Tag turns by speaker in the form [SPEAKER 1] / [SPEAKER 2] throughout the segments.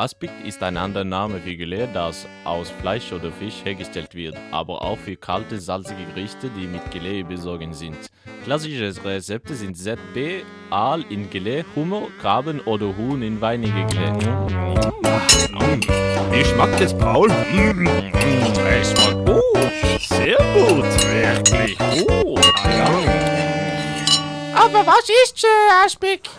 [SPEAKER 1] Aspik ist ein anderer Name für Gelee, das aus Fleisch oder Fisch hergestellt wird, aber auch für kalte, salzige Gerichte, die mit Gelee besorgen sind. Klassische Rezepte sind ZB, Aal in Gelee, Hummer, Krabben oder Huhn in weinige Gelee.
[SPEAKER 2] Wie schmeckt es, Paul? Mm, es schmeckt gut. Sehr gut, wirklich gut. Ah, ja.
[SPEAKER 3] Aber was ist äh, Aspik?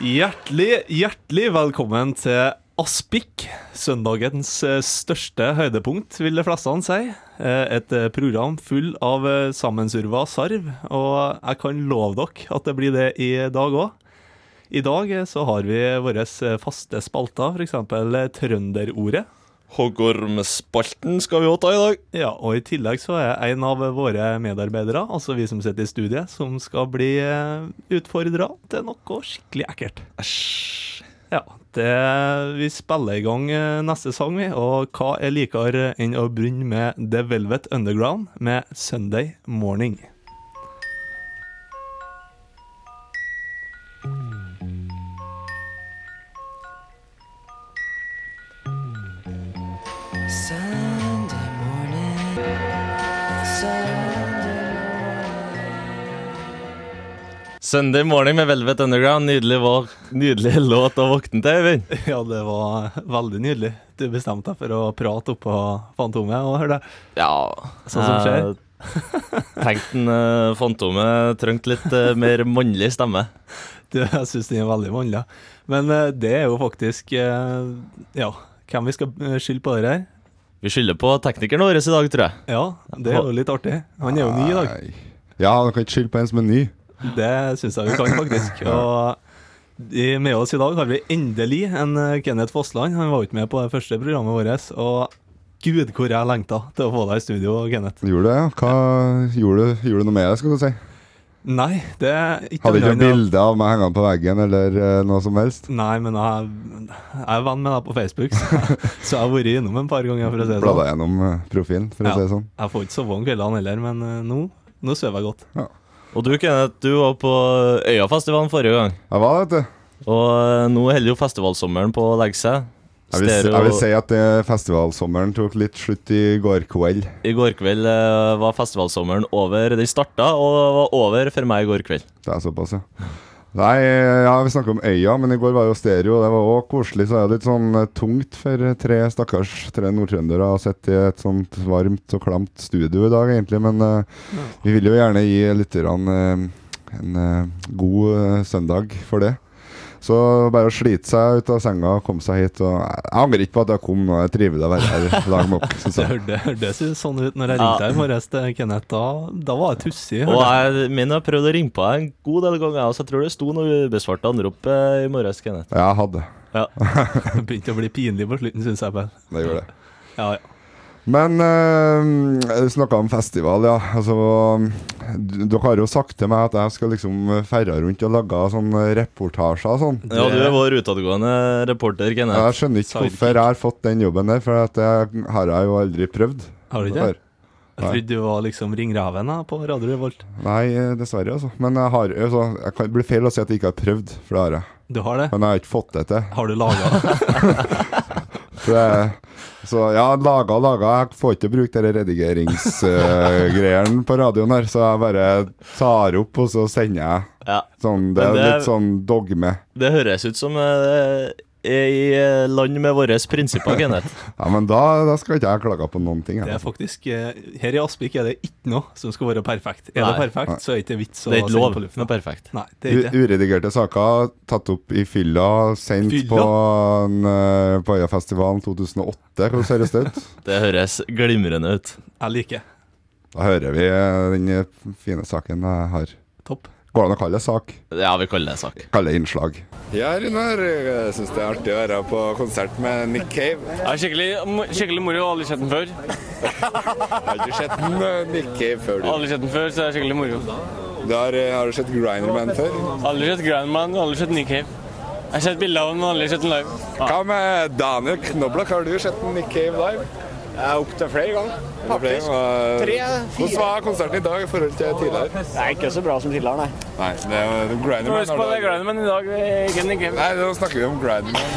[SPEAKER 4] Hjertelig, hjertelig velkommen til Aspik, søndagens eh, største høydepunkt, vil de fleste han si. Eh, Et eh, program full av eh, sammensurva sarv, og jeg kan love dere at det blir det i dag òg. I dag eh, så har vi våre faste spalter, f.eks. trønderordet.
[SPEAKER 2] Hoggormspalten skal vi òg ta i dag.
[SPEAKER 4] Ja, og i tillegg så er en av våre medarbeidere, altså vi som sitter i studiet, som skal bli utfordra til noe skikkelig ekkelt.
[SPEAKER 2] Æsj.
[SPEAKER 4] Ja, det, vi spiller i gang eh, neste sang, vi. Og hva er likere enn å begynne med The Velvet Underground med Sunday Morning?
[SPEAKER 5] Sunday morning. Sunday
[SPEAKER 1] Sunday morning med Velvet Underground, nydelig vår. Nydelig låt å våkne til, Eivind.
[SPEAKER 4] Ja, det var veldig nydelig. Du bestemte deg for å prate oppå Fantomet, og hør det.
[SPEAKER 1] Ja, Eh,
[SPEAKER 4] Sånn som skjer.
[SPEAKER 1] Tenkte uh, Fantomet trengte litt eh, mer mannlig stemme.
[SPEAKER 4] Du, jeg syns den er veldig vanlig. Men eh, det er jo faktisk eh, Ja, hvem vi skal eh, skylde på det her?
[SPEAKER 1] Vi skylder på teknikeren vår i dag, tror jeg.
[SPEAKER 4] Ja, det er jo litt artig. Han er jo ny i dag.
[SPEAKER 6] Nei. Ja, du kan ikke skylde på en som er ny.
[SPEAKER 4] Det syns jeg vi kan, faktisk. Og i- med oss i dag har vi endelig en eh, Kenneth Fossland. Han var jo ikke med på det første programmet vårt. Og gud, hvor jeg lengta til å få deg i studio, Kenneth.
[SPEAKER 6] Gjorde du det? ja? Hva gjorde du, gjorde du noe med det, skal du si?
[SPEAKER 4] Nei, det er ikke
[SPEAKER 6] Hadde ikke
[SPEAKER 4] annet
[SPEAKER 6] noe
[SPEAKER 4] enn å-
[SPEAKER 6] bilde av meg hengende på veggen eller eh, noe som helst?
[SPEAKER 4] Nei, men jeg, jeg er venn med deg på Facebook, så, så jeg har vært innom en par ganger, for å si det
[SPEAKER 6] Bladde
[SPEAKER 4] sånn.
[SPEAKER 6] gjennom eh, profilen, for å
[SPEAKER 4] Ja.
[SPEAKER 6] si det sånn.
[SPEAKER 4] Jeg får ikke sove om kveldene heller, men eh, nå, nå sover jeg godt.
[SPEAKER 1] Og du, Kenneth, du var på Øyafestivalen forrige gang.
[SPEAKER 6] Jeg var det, vet du.
[SPEAKER 1] Og eh, nå holder jo festivalsommeren på å legge seg.
[SPEAKER 6] Jeg vil,
[SPEAKER 1] Stereo-
[SPEAKER 6] jeg vil si at det festivalsommeren tok litt slutt i går kveld.
[SPEAKER 1] I går kveld eh, var festivalsommeren over. Den starta og var over for meg i går kveld.
[SPEAKER 6] Det er såpass, ja. Nei, eh, ja, vi snakka om øya, men i går var jo stereo. og Det var òg koselig, så er det litt sånn eh, tungt for eh, tre stakkars tre nordtrøndere å sitte i et sånt varmt og klamt studio i dag, egentlig. Men eh, vi vil jo gjerne gi lytterne eh, en eh, god eh, søndag for det. Så bare å slite seg ut av senga og komme seg hit. Og jeg angrer ikke på at jeg kom nå. Jeg trives å være her i dag nok. synes
[SPEAKER 4] Det
[SPEAKER 6] jeg.
[SPEAKER 4] hørtes hørte sånn ut når
[SPEAKER 1] Ja.
[SPEAKER 4] jeg ringte deg i morges til Kenneth. Da, da var jeg tussig.
[SPEAKER 1] Og jeg mener jeg prøvde å ringe på deg en god del ganger, jeg, så jeg tror det sto noe ubesvarte anrop eh, i morges. Kenneth.
[SPEAKER 6] Ja, jeg hadde.
[SPEAKER 4] Det begynte å bli pinlig på slutten, syns jeg. Pell.
[SPEAKER 6] Det gjorde det.
[SPEAKER 4] Ja, ja.
[SPEAKER 6] Men eh, du snakka om festival, ja. Altså, d- dere har jo sagt til meg at jeg skal liksom ferde rundt og lage sånne reportasjer og sånn.
[SPEAKER 1] Ja, du er vår utadgående reporter, Kenneth.
[SPEAKER 6] Jeg skjønner ikke
[SPEAKER 4] Sidekick.
[SPEAKER 6] hvorfor jeg har fått den jobben der, for at det har jeg jo aldri prøvd.
[SPEAKER 4] Har du ikke?
[SPEAKER 6] før.
[SPEAKER 4] Jeg
[SPEAKER 6] Nei.
[SPEAKER 4] trodde du var liksom ringreven da, på Radio Revolt.
[SPEAKER 6] Nei, eh, dessverre, altså. Men jeg har altså, jeg kan, det blir feil å si at jeg ikke har prøvd, for det har jeg.
[SPEAKER 4] Du har det?
[SPEAKER 6] Men jeg har ikke fått det til.
[SPEAKER 4] Har du laga?
[SPEAKER 6] Så, jeg, så ja, laga og laga. Jeg får ikke brukt de redigeringsgreiene på radioen her, så jeg bare tar opp, og så sender jeg.
[SPEAKER 1] Ja.
[SPEAKER 6] Sånn, det
[SPEAKER 1] Men
[SPEAKER 6] er
[SPEAKER 1] det er-
[SPEAKER 6] litt sånn dogme.
[SPEAKER 1] Det høres ut som eh, er i eh, land med våre prinsipper, Kenneth.
[SPEAKER 6] Ja, men da, da skal ikke jeg klage på noen ting.
[SPEAKER 4] Det
[SPEAKER 6] Jeg.
[SPEAKER 4] er faktisk eh, Her i Aspik er det ikke noe som skal være perfekt. Er
[SPEAKER 1] Nei.
[SPEAKER 4] det perfekt, så er det ikke vits å
[SPEAKER 1] Det er ikke
[SPEAKER 4] sende
[SPEAKER 1] lov.
[SPEAKER 4] på
[SPEAKER 1] Det
[SPEAKER 4] luften.
[SPEAKER 1] er perfekt.
[SPEAKER 4] Nei, det er
[SPEAKER 6] U-
[SPEAKER 4] ikke det.
[SPEAKER 6] Uredigerte saker tatt opp i fylla, sendt
[SPEAKER 4] Fylla?
[SPEAKER 6] på en, eh, på Øyafestivalen 2008. Hvordan høres det ut?
[SPEAKER 1] Det høres glimrende ut.
[SPEAKER 4] Jeg liker.
[SPEAKER 6] Da hører vi eh, den eh, fine saken jeg har.
[SPEAKER 4] Topp.
[SPEAKER 6] Går det an å kalle det sak?
[SPEAKER 1] Ja, vi kaller det sak.
[SPEAKER 6] Kalle det innslag? Ja, Runar. Jeg syns det er artig å være på konsert med Nick Cave.
[SPEAKER 7] Ja, skikkelig, skikkelig moro. Aldri sett den før.
[SPEAKER 6] Har du sett Nick Cave før,
[SPEAKER 4] Ah.
[SPEAKER 7] Aldri sett den før, så det er skikkelig moro.
[SPEAKER 6] eh, Har, du sett Grinderman før?
[SPEAKER 7] Aldri sett Grindman, aldri sett Nick Cave. Jeg har sett bilder av den, men aldri sett den live.
[SPEAKER 8] Hva med Daniel Knoblach? Har du sett den Nick Cave live?
[SPEAKER 9] Jeg opptil flere ganger.
[SPEAKER 8] Faktisk.
[SPEAKER 9] Tre,
[SPEAKER 8] Hvordan
[SPEAKER 9] fire.
[SPEAKER 8] var konserten i dag i forhold til tidligere?
[SPEAKER 9] Det er ikke så bra som tidligere, nei.
[SPEAKER 8] Nei, det er jo Grinderman.
[SPEAKER 7] Husk på det Grinderman i dag. det er Ikke Nick Cave.
[SPEAKER 8] Nei, nå snakker vi om eh, Grinderman.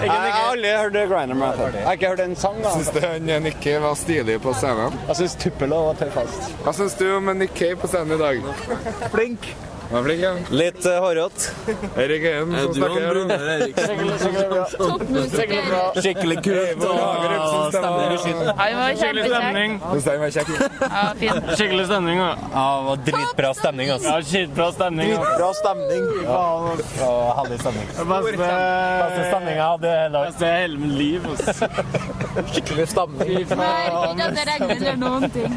[SPEAKER 9] Jeg har aldri hørt Grinder Man før. Jeg har ikke hørt en sang, da.
[SPEAKER 8] Syns du han, eh, Nick Cave var stilig på scenen?
[SPEAKER 9] Jeg syns Tuppelo var tøffest.
[SPEAKER 8] Hva syns du om Nick Cave på scenen i dag?
[SPEAKER 9] Flink.
[SPEAKER 8] Han er flink, ja.
[SPEAKER 9] Litt uh, hårete.
[SPEAKER 8] Erik Øyen som snakker her. nå.
[SPEAKER 9] Skikkelig kult.
[SPEAKER 8] Bård Hagerup som stemmer.
[SPEAKER 10] det var
[SPEAKER 7] Skikkelig stemning.
[SPEAKER 8] Det stemmer kjekt.
[SPEAKER 10] Ja, fin.
[SPEAKER 7] Skikkelig stemning, da.
[SPEAKER 11] Dritbra stemning, altså.
[SPEAKER 7] Ja, skitbra stemning. da.
[SPEAKER 9] Bra stemning.
[SPEAKER 11] Herlig stemning.
[SPEAKER 7] Beste
[SPEAKER 11] Stemninga hadde
[SPEAKER 7] beste i Altså, hele mitt liv. altså. ass.
[SPEAKER 9] Skikkelig stemning.
[SPEAKER 10] Nei, ikke at det regner eller noen ting.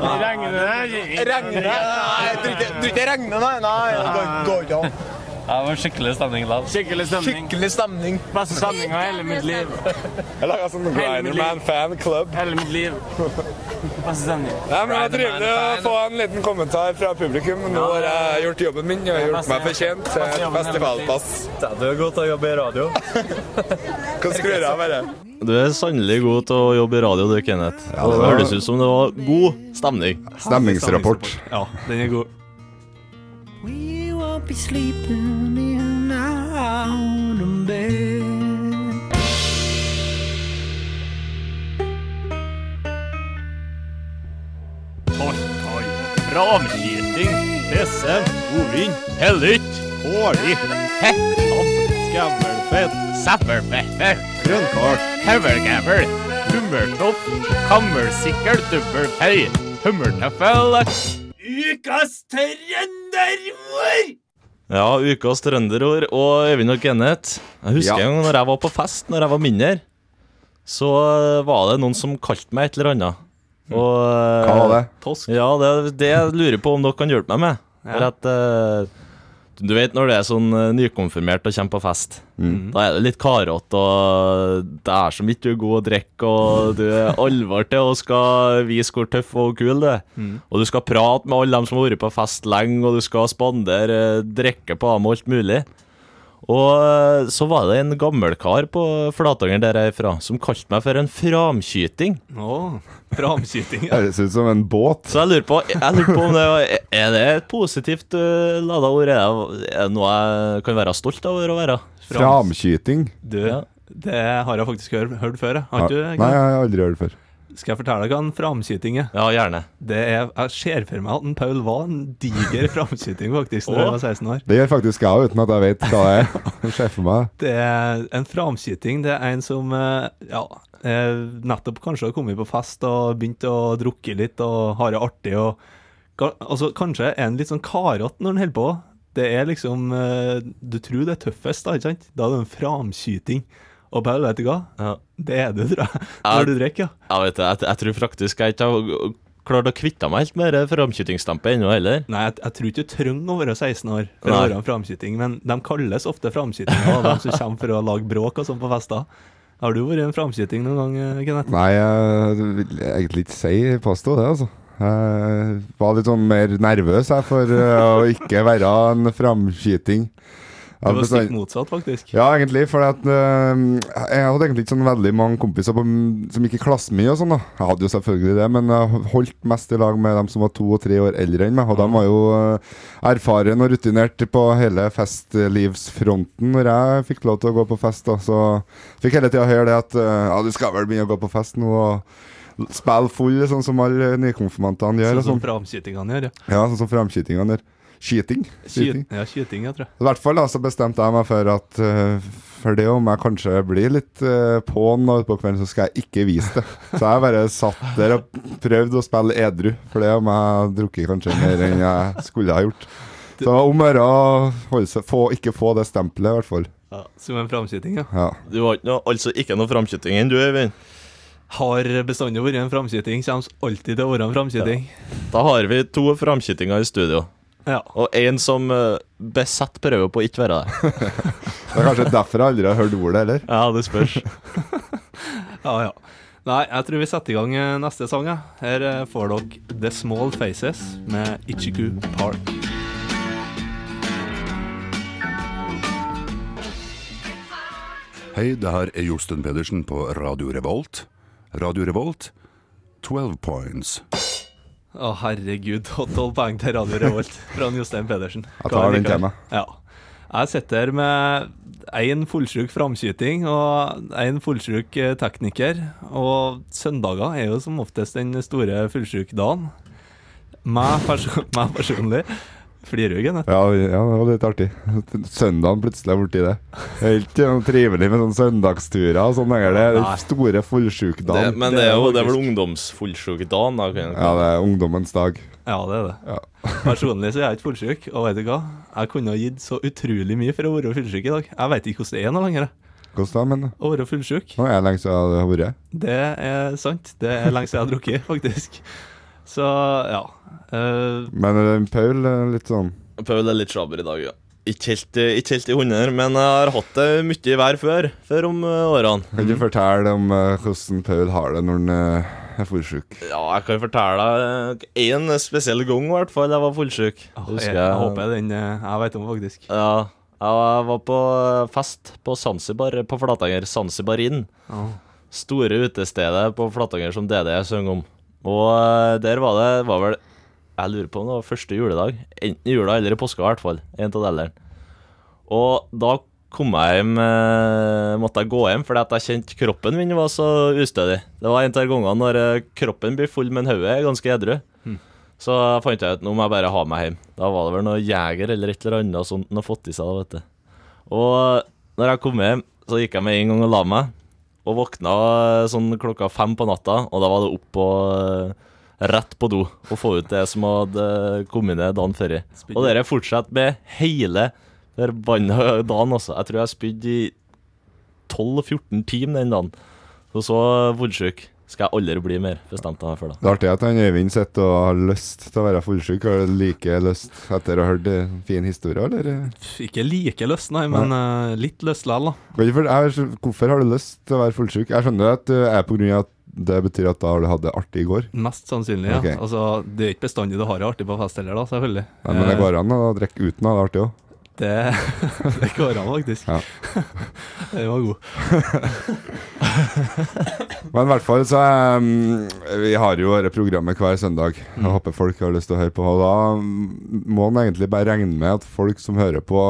[SPEAKER 7] Regner det?
[SPEAKER 9] Regner det? Nei, du tror ikke det regner, nei? Nei, det går- går ikke an.
[SPEAKER 11] Det var skikkelig stemning. da.
[SPEAKER 7] Skikkelig stemning.
[SPEAKER 9] Skikkelig stemning.
[SPEAKER 7] Beste stemninga i hele mitt liv.
[SPEAKER 8] Jeg laga sånn Grinderman fan club.
[SPEAKER 7] Hele mitt liv. Beste stemning.
[SPEAKER 8] Nei, men Det var trivelig å få en liten kommentar fra publikum. Nå har jeg gjort jobben min og gjort meg fortjent til et festivalpass.
[SPEAKER 11] Du er god til å jobbe i radio.
[SPEAKER 8] Hvordan skrur jeg av det?
[SPEAKER 1] Du er sannelig god til å jobbe i radio, du, Kenneth. Og det høres ut som det var god stemning.
[SPEAKER 6] Stemningsrapport.
[SPEAKER 4] Ja, den er god.
[SPEAKER 12] We won't be sleeping in our own bed.
[SPEAKER 11] Framskyting, presse, godvin, hellytt, hålig, hettan, skammelfett, sæppelpetter, grønnkål, høvelgævel, hummertopp, kammersikkel, dubbelpei, hummertøffel Ukas trønderord!
[SPEAKER 1] Ja, ukas trønderord og Øyvind og Kenneth. Jeg husker
[SPEAKER 6] Ja.
[SPEAKER 1] en gang når jeg var på fest, når jeg var mindre, så eh, var det noen som kalte meg et eller annet. Og eh,
[SPEAKER 6] Hva var det?
[SPEAKER 4] Tosk.
[SPEAKER 1] Ja, det er det jeg lurer på om dere kan hjelpe meg med. For at eh, Du vet når du er sånn eh, nykonfirmert og kommer på fest. Da er det litt karete, og det er så mye du er god å drikke, og du er alvor til og skal vise hvor tøff og kul du er. Og du skal prate med alle dem som har vært på fest lenge, og du skal spandere eh, drikke på dem og alt mulig. Og eh, så var det en gammel kar på Flatanger der jeg er fra, som kalte meg for en framskyting.
[SPEAKER 4] Å, framskyting. Ja.
[SPEAKER 6] Høres ut som en båt.
[SPEAKER 1] Så jeg lurer på, jeg lurer på om det var, Er det et positivt uh, lada ord? Er det- Er det noe jeg kan være stolt over å være?
[SPEAKER 4] Frams-
[SPEAKER 6] Framskyting.
[SPEAKER 4] Du,
[SPEAKER 1] Ja.
[SPEAKER 4] det har jeg faktisk hør, hørt før. jeg. Har
[SPEAKER 6] Nei,
[SPEAKER 4] ikke
[SPEAKER 6] jeg
[SPEAKER 4] du? Gunnar?
[SPEAKER 6] har aldri hørt det før.
[SPEAKER 4] Skal jeg fortelle deg hva en framskyting er?
[SPEAKER 1] Ja, gjerne.
[SPEAKER 4] Det er, Jeg ser for meg at en Paul var en diger framskyting, faktisk, da jeg var 16 år.
[SPEAKER 6] Det gjør faktisk jeg uten at jeg vet hva det er. Se for meg
[SPEAKER 4] Det er en framskyting. Det er en som eh, ja, eh, nettopp kanskje har kommet på fest og begynt å drukke litt og har det artig. Og, ka- altså, kanskje er en litt sånn karete når en holder på. Det er liksom eh, Du tror det er tøffest, da, ikke sant? Da er det en framskyting. Og Paul, vet du hva?
[SPEAKER 1] Ja.
[SPEAKER 4] Det er du, tror jeg.
[SPEAKER 1] Ja.
[SPEAKER 4] Når du drikker, ja.
[SPEAKER 1] Jeg, vet, det, jeg, jeg tror faktisk jeg ikke har klart å kvitte meg helt med det framskytingsstampe ennå heller.
[SPEAKER 4] Nei, jeg, jeg tror ikke du trenger å være 16 år for å
[SPEAKER 1] Nei.
[SPEAKER 4] være en framskyting, men de kalles ofte framskytinger, og de som kommer for å lage bråk og sånn på fester. Har du vært en framskyting noen gang, Kenneth?
[SPEAKER 6] Nei, jeg vil egentlig ikke si påstå det, altså. Jeg var litt sånn mer nervøs jeg, for eh, å ikke være en framskyting.
[SPEAKER 4] Det var
[SPEAKER 6] Jeg bestand-
[SPEAKER 4] stikk motsatt, faktisk.
[SPEAKER 6] Ja, egentlig, for at, øhm, jeg hadde egentlig ikke sånn veldig mange kompiser på, som gikk i klassen min. og sånn da. Jeg hadde jo selvfølgelig det, men jeg holdt mest i lag med dem som var to og tre år eldre enn meg. Og de var jo øh, erfaren og rutinert på hele festlivsfronten når jeg fikk lov til å gå på fest. da. Så fikk hele tida høre det at øh, ja, du skal vel begynne å gå på fest nå. og Spille full, sånn som alle nykonfirmantene gjør.
[SPEAKER 4] Sånn
[SPEAKER 6] og
[SPEAKER 4] som
[SPEAKER 6] Sånn.
[SPEAKER 4] framskytingene gjør, ja.
[SPEAKER 6] Ja, sånn som framskytingene gjør. Skyting.
[SPEAKER 4] Skyt, ja, skyting, jeg tror jeg.
[SPEAKER 6] I hvert fall da, så bestemte jeg meg for at eh, for det om jeg kanskje blir litt eh, på'n nå utpå kvelden, så skal jeg ikke vise det. Så jeg bare satt der og prøvde å spille edru, for det om jeg har drukket kanskje mer enn jeg skulle ha gjort. Så det var om å gjøre å holde seg- få- ikke få det stempelet, i hvert fall.
[SPEAKER 4] Ja, som en framskyting, ja.
[SPEAKER 6] Ja.
[SPEAKER 1] Du har ikke noe, altså ikke noe framskyting enn du, Øyvind.
[SPEAKER 4] Har bestandig vært en framskyting, kommer alltid til å være en framskyting.
[SPEAKER 1] Da har vi to framskytinger i studio,
[SPEAKER 4] Ja.
[SPEAKER 1] og én som eh, besatt prøver på å ikke være det.
[SPEAKER 6] Det er kanskje derfor jeg aldri har hørt ordet heller.
[SPEAKER 1] Ja, det spørs.
[SPEAKER 4] ja, ja. Nei, jeg tror vi setter i gang eh, neste sang, ja. Her eh, får dere The Small Faces med Ichiku Park.
[SPEAKER 13] Hei, det her er Josten Pedersen på Radio Revolt. Radio Revolt, 12 points.
[SPEAKER 4] Å, herregud. Og tolv poeng til Radio Revolt fra Jostein Pedersen.
[SPEAKER 6] Jeg tar
[SPEAKER 4] Hva er det,
[SPEAKER 6] den til
[SPEAKER 4] Karl?
[SPEAKER 6] meg.
[SPEAKER 4] Ja. Jeg sitter her med én fullsjuk framskyting og én fullsjuk eh, tekniker. Og søndager er jo som oftest den store fullsjuk-dagen. Meg, perso meg personlig. Flirer du, Kenneth?
[SPEAKER 6] Ja, ja, det var litt artig. Søndagen plutselig er borti det. Det er ikke noe trivelig med sånne søndagsturer og sånn lenger. Det er den
[SPEAKER 14] Nei.
[SPEAKER 6] store fullsjukdagen.
[SPEAKER 14] men det er jo det er vel ungdomsfullsjukedagen. da, kan jeg-
[SPEAKER 6] Ja, det er ungdommens dag.
[SPEAKER 4] Ja, det er det. Personlig så er jeg ikke fullsjuk, og vet du hva? Jeg kunne ha gitt så utrolig mye for å være fullsjuk i dag. Jeg vet ikke hvordan det er nå lenger.
[SPEAKER 6] Hvordan da, men?
[SPEAKER 4] Å være fullsjuk.
[SPEAKER 6] Nå er jeg lenge siden det har vært.
[SPEAKER 4] Det er sant. Det er lenge siden jeg har drukket, faktisk. Så ja. Eh,
[SPEAKER 6] Men eh, Paul er litt sånn
[SPEAKER 1] Paul er litt slabber i dag, ja. Ikke helt, eh, ikke helt i hundene, men jeg har hatt det mye vær før. Før om eh, årene.
[SPEAKER 6] Kan du fortelle om eh, hvordan Paul har det når han eh, er fullsjuk?
[SPEAKER 1] Ja, jeg kan fortelle deg eh, en spesiell gang i hvert fall jeg var fullsjuk.
[SPEAKER 4] jeg, jeg, håper den eh, Jeg vet om, faktisk.
[SPEAKER 1] Ja, jeg var på eh, fest på Zanzibar, på Flatanger, Zanzibar Inn.
[SPEAKER 4] Ja.
[SPEAKER 1] Store utestedet på Flatanger som DD synger om. Og eh, der var det var vel Jeg lurer på om det var første juledag. Enten i jula eller i påska, i hvert fall. En av delene. Og da kom jeg hjem, eh, måtte jeg gå hjem fordi at jeg kjente kroppen min var så ustødig. Det var en av gangene når eh, kroppen blir full, men hodet er ganske edru.
[SPEAKER 14] Hmm.
[SPEAKER 1] Så fant jeg ut nå må jeg bare ha meg hjem. Da var det vel noe jeger eller et eller annet sånt han har fått i seg. da, vet du. Og når jeg kom hjem, så gikk jeg med en gang og la meg. Og våkna eh, sånn klokka fem på natta, og da var det opp og eh, rett på do og få ut det som hadde eh, kommet ned dagen før. Og dere fortsetter med hele forbanna dagen, altså. Jeg tror jeg spydde i 12-14 timer den dagen. Og så fullsjuk. Skal jeg aldri bli mer, bestemte jeg meg for da.
[SPEAKER 6] Det er artig at han Øyvind sitter og har lyst til å være fullsjuk. Har du like lyst etter å ha hørt eh, fin historie, eller?
[SPEAKER 4] Ikke like løs, nei, men eh, litt løs likevel, da.
[SPEAKER 6] Kan du for- jeg skjø- Hvorfor har du lyst til å være fullsjuk? Jeg skjønner at det er på grunn av at det betyr at da har du hatt det artig i går.
[SPEAKER 4] Mest sannsynlig, ja.
[SPEAKER 6] Ok.
[SPEAKER 4] Altså, det er ikke bestandig du har det artig på fest heller, da, selvfølgelig.
[SPEAKER 6] Nei, men det
[SPEAKER 4] Eh,
[SPEAKER 6] går an å drikke uten å ha det artig òg.
[SPEAKER 4] Det, det går an, faktisk.
[SPEAKER 6] Ja.
[SPEAKER 4] Den var god.
[SPEAKER 6] Men i hvert fall så um, Vi har jo dette programmet hver søndag.
[SPEAKER 1] Mm.
[SPEAKER 6] Jeg håper folk har lyst til å høre på. Og da mm, må en egentlig bare regne med at folk som hører på,